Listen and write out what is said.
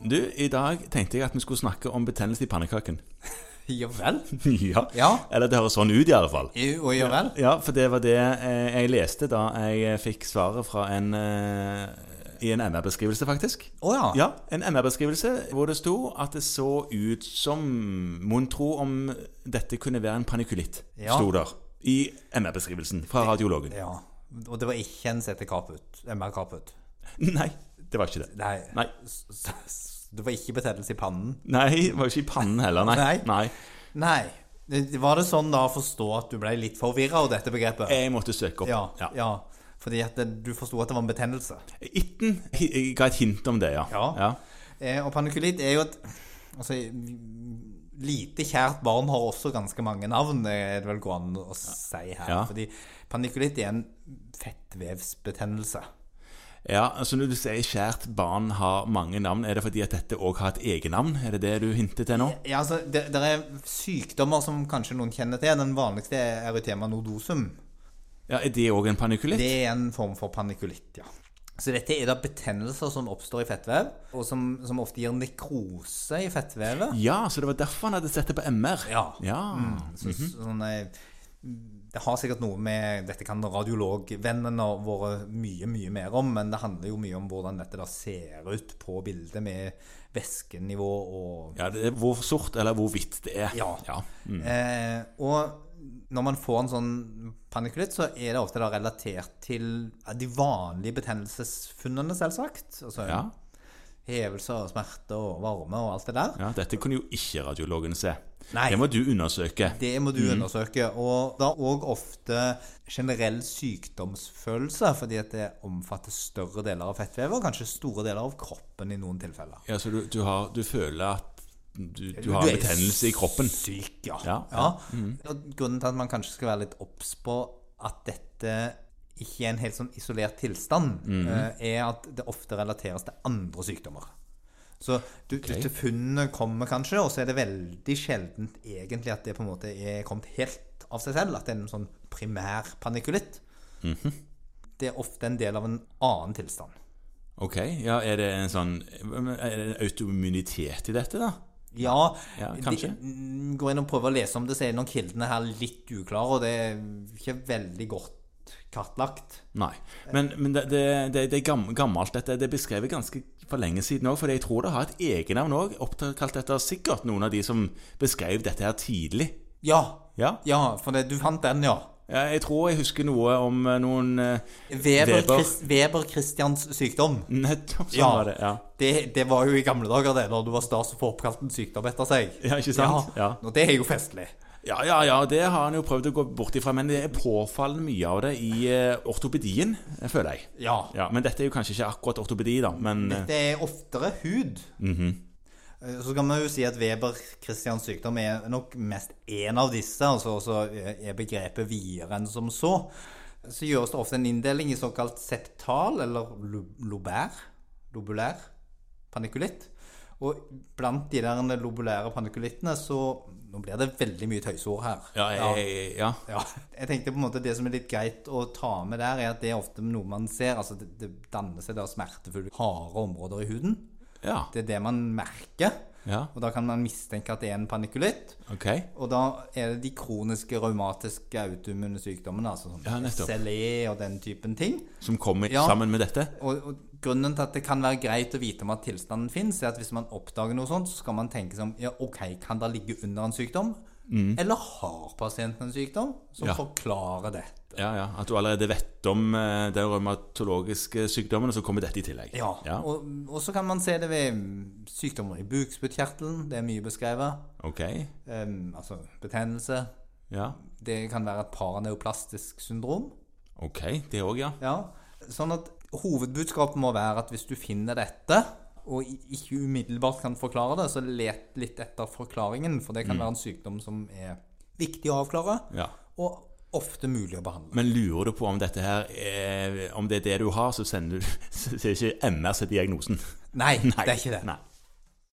Du, i dag tenkte jeg at vi skulle snakke om betennelse i pannekaken. Ja vel? ja. Ja. Eller det høres sånn ut, i alle fall. Jo, og ja vel? Ja, for det var det eh, jeg leste da jeg eh, fikk svaret fra en eh, I en MR-beskrivelse, faktisk. Å ja. Ja, en MR-beskrivelse hvor det sto at det så ut som Mon tro om dette kunne være en panikulitt, Ja. sto der. I MR-beskrivelsen fra radiologen. Ja. Og det var ikke en CT Kaput. MR Kaput. Nei, det var ikke det. Nei. Nei. S- s- s- Det var ikke betennelse i pannen. Nei, det var ikke i pannen heller. Nei. Nei. Nei. Nei. Var det sånn da å forstå at du ble litt forvirra av dette begrepet? Jeg måtte søke opp. Ja. Eh, ja. Fordi at det- du forsto at det var en betennelse. Itten hi- jeg ga et hint om det, ja. Ja. Eh, Og panikulitt er jo et Altså, lite kjært barn har også ganske mange navn, eh, er det vel går an å si her. Ja. Fordi panikulitt er en fettvevsbetennelse. Ja, altså Når du sier kjært barn har mange navn, er det fordi at dette òg har et egennavn? Er det det du hinter til nå? Ja, altså, det, det er sykdommer som kanskje noen kjenner til. Den vanligste er erytema nodosum. Ja, Er det òg en panikulitt? Det er en form for panikulitt, ja. Så dette er da betennelser som oppstår i fettvev, og som, som ofte gir nekrose i fettvevet. Ja, så det var derfor han hadde sett det på MR? Ja. Mm. ja. Så, sånne, det har sikkert noe med Dette kan radiologvennene våre mye, mye mer om, men det handler jo mye om hvordan dette da ser ut på bildet med væskenivå og Ja, det er Hvor sort eller hvor hvitt det er. Ja. ja. Eh, og når man får en sånn panikulitt, så er det ofte da relatert til ja, de vanlige betennelsesfunnene, selvsagt. Altså Ja. hevelser og smerte og varme og alt det der. ja, Dette kunne jo ikke radiologen se. Nei. Det må du undersøke. Det må Mm. du undersøke. Og da òg ofte generell sykdomsfølelse, fordi at det omfatter større deler av fettvevet og kanskje store deler av kroppen i noen tilfeller. Ja, Så du, du, har, du føler at du, du har er betennelse i kroppen? Syk, ja. ja, Ja, Mm. Og grunnen til at man kanskje skal være litt obs på at dette ikke er en helt sånn isolert tilstand, Mm. eh, er at det ofte relateres til andre sykdommer. Så du, dette funnet kommer kanskje, og så er det veldig sjeldent egentlig at det på en måte er kommet helt av seg selv, at det er en sånn primær panikulitt. Mhm. Det er ofte en del av en annen tilstand. Ok, ja, Er det en sånn Er det en autoimmunitet i dette, da? Ja, Ja, kanskje. De, mm, går inn og prøver å lese om det, så er noen kildene her litt uklare, og det er ikke veldig godt kartlagt. Nei. Men, men det, det, det, det er gam- gammelt, dette. Det er beskrevet ganske for lenge siden òg. For jeg tror det har et egennavn òg, oppkalt etter sikkert noen av de som beskrev dette her tidlig. Ja, Ja. ja, for det, du fant den, ja. ja jeg tror jeg husker noe om eh, noen eh, Weber, Weber. Chris, Weber Christians sykdom. Nettopp sånn Ja. var det. Ja. Det, det var jo i gamle dager, det, når du var stas og få oppkalt en sykdom etter seg. Ja, ikke sant? Ja. Og det er jo festlig. ja, ja, ja. Det har han jo prøvd å gå bort ifra. Men det er påfallende mye av det i eh, ortopedien, eh, føler jeg. Ja. Ja, Men dette er jo kanskje ikke akkurat ortopedi, da. Men eh, Mhm. Det er oftere hud. Eh, Så kan man jo si at Weber Christians sykdom er nok mest én av disse, altså så er begrepet videre enn som så. Så gjøres det ofte en inndeling i såkalt septal eller lo- lobær, lobulær panikulitt. Og blant de der lobulære panikulittene så Nå blir det veldig mye tøyseord her. ja, jeg, ja. Ja, jeg tenkte på en måte Det som er litt greit å ta med der, er at det er ofte noe man ser. altså Det, det danner seg da smertefulle, harde områder i huden. Ja. Det er det man merker. ja. Og da kan man mistenke at det er en panikulitt. Ok. Og da er det de kroniske raumatiske autoimmune sykdommene, altså som Ja, nettopp. SLE og den typen ting. Som kommer Ja. sammen med dette? Og, og grunnen til at det kan være greit å vite om at tilstanden fins, er at hvis man oppdager noe sånt, så skal man tenke som ja, ok, kan det ligge under en sykdom? Eller har pasienten en sykdom Mm. som Ja. forklarer det? Ja, ja, At du allerede vet om eh, den revmatologiske sykdommen, og så kommer dette i tillegg. Ja, Og, og så kan man se det ved mm, sykdommer i bukspyttkjertelen. Det er mye beskrevet. Ok. Em, altså betennelse. Ja. Det kan være et paraneoplastisk syndrom. Ok, det òg, ja. Ja. Sånn at hovedbudskapet må være at hvis du finner dette, og i- ikke umiddelbart kan forklare det, så let litt etter forklaringen, for det kan være en sykdom som er viktig å avklare, ja. og ofte mulig å behandle. Men lurer du på om dette her eh, er, Om det er det du har, så sender du Så er ikke MR som er diagnosen. Nei, det er ikke det. Nei.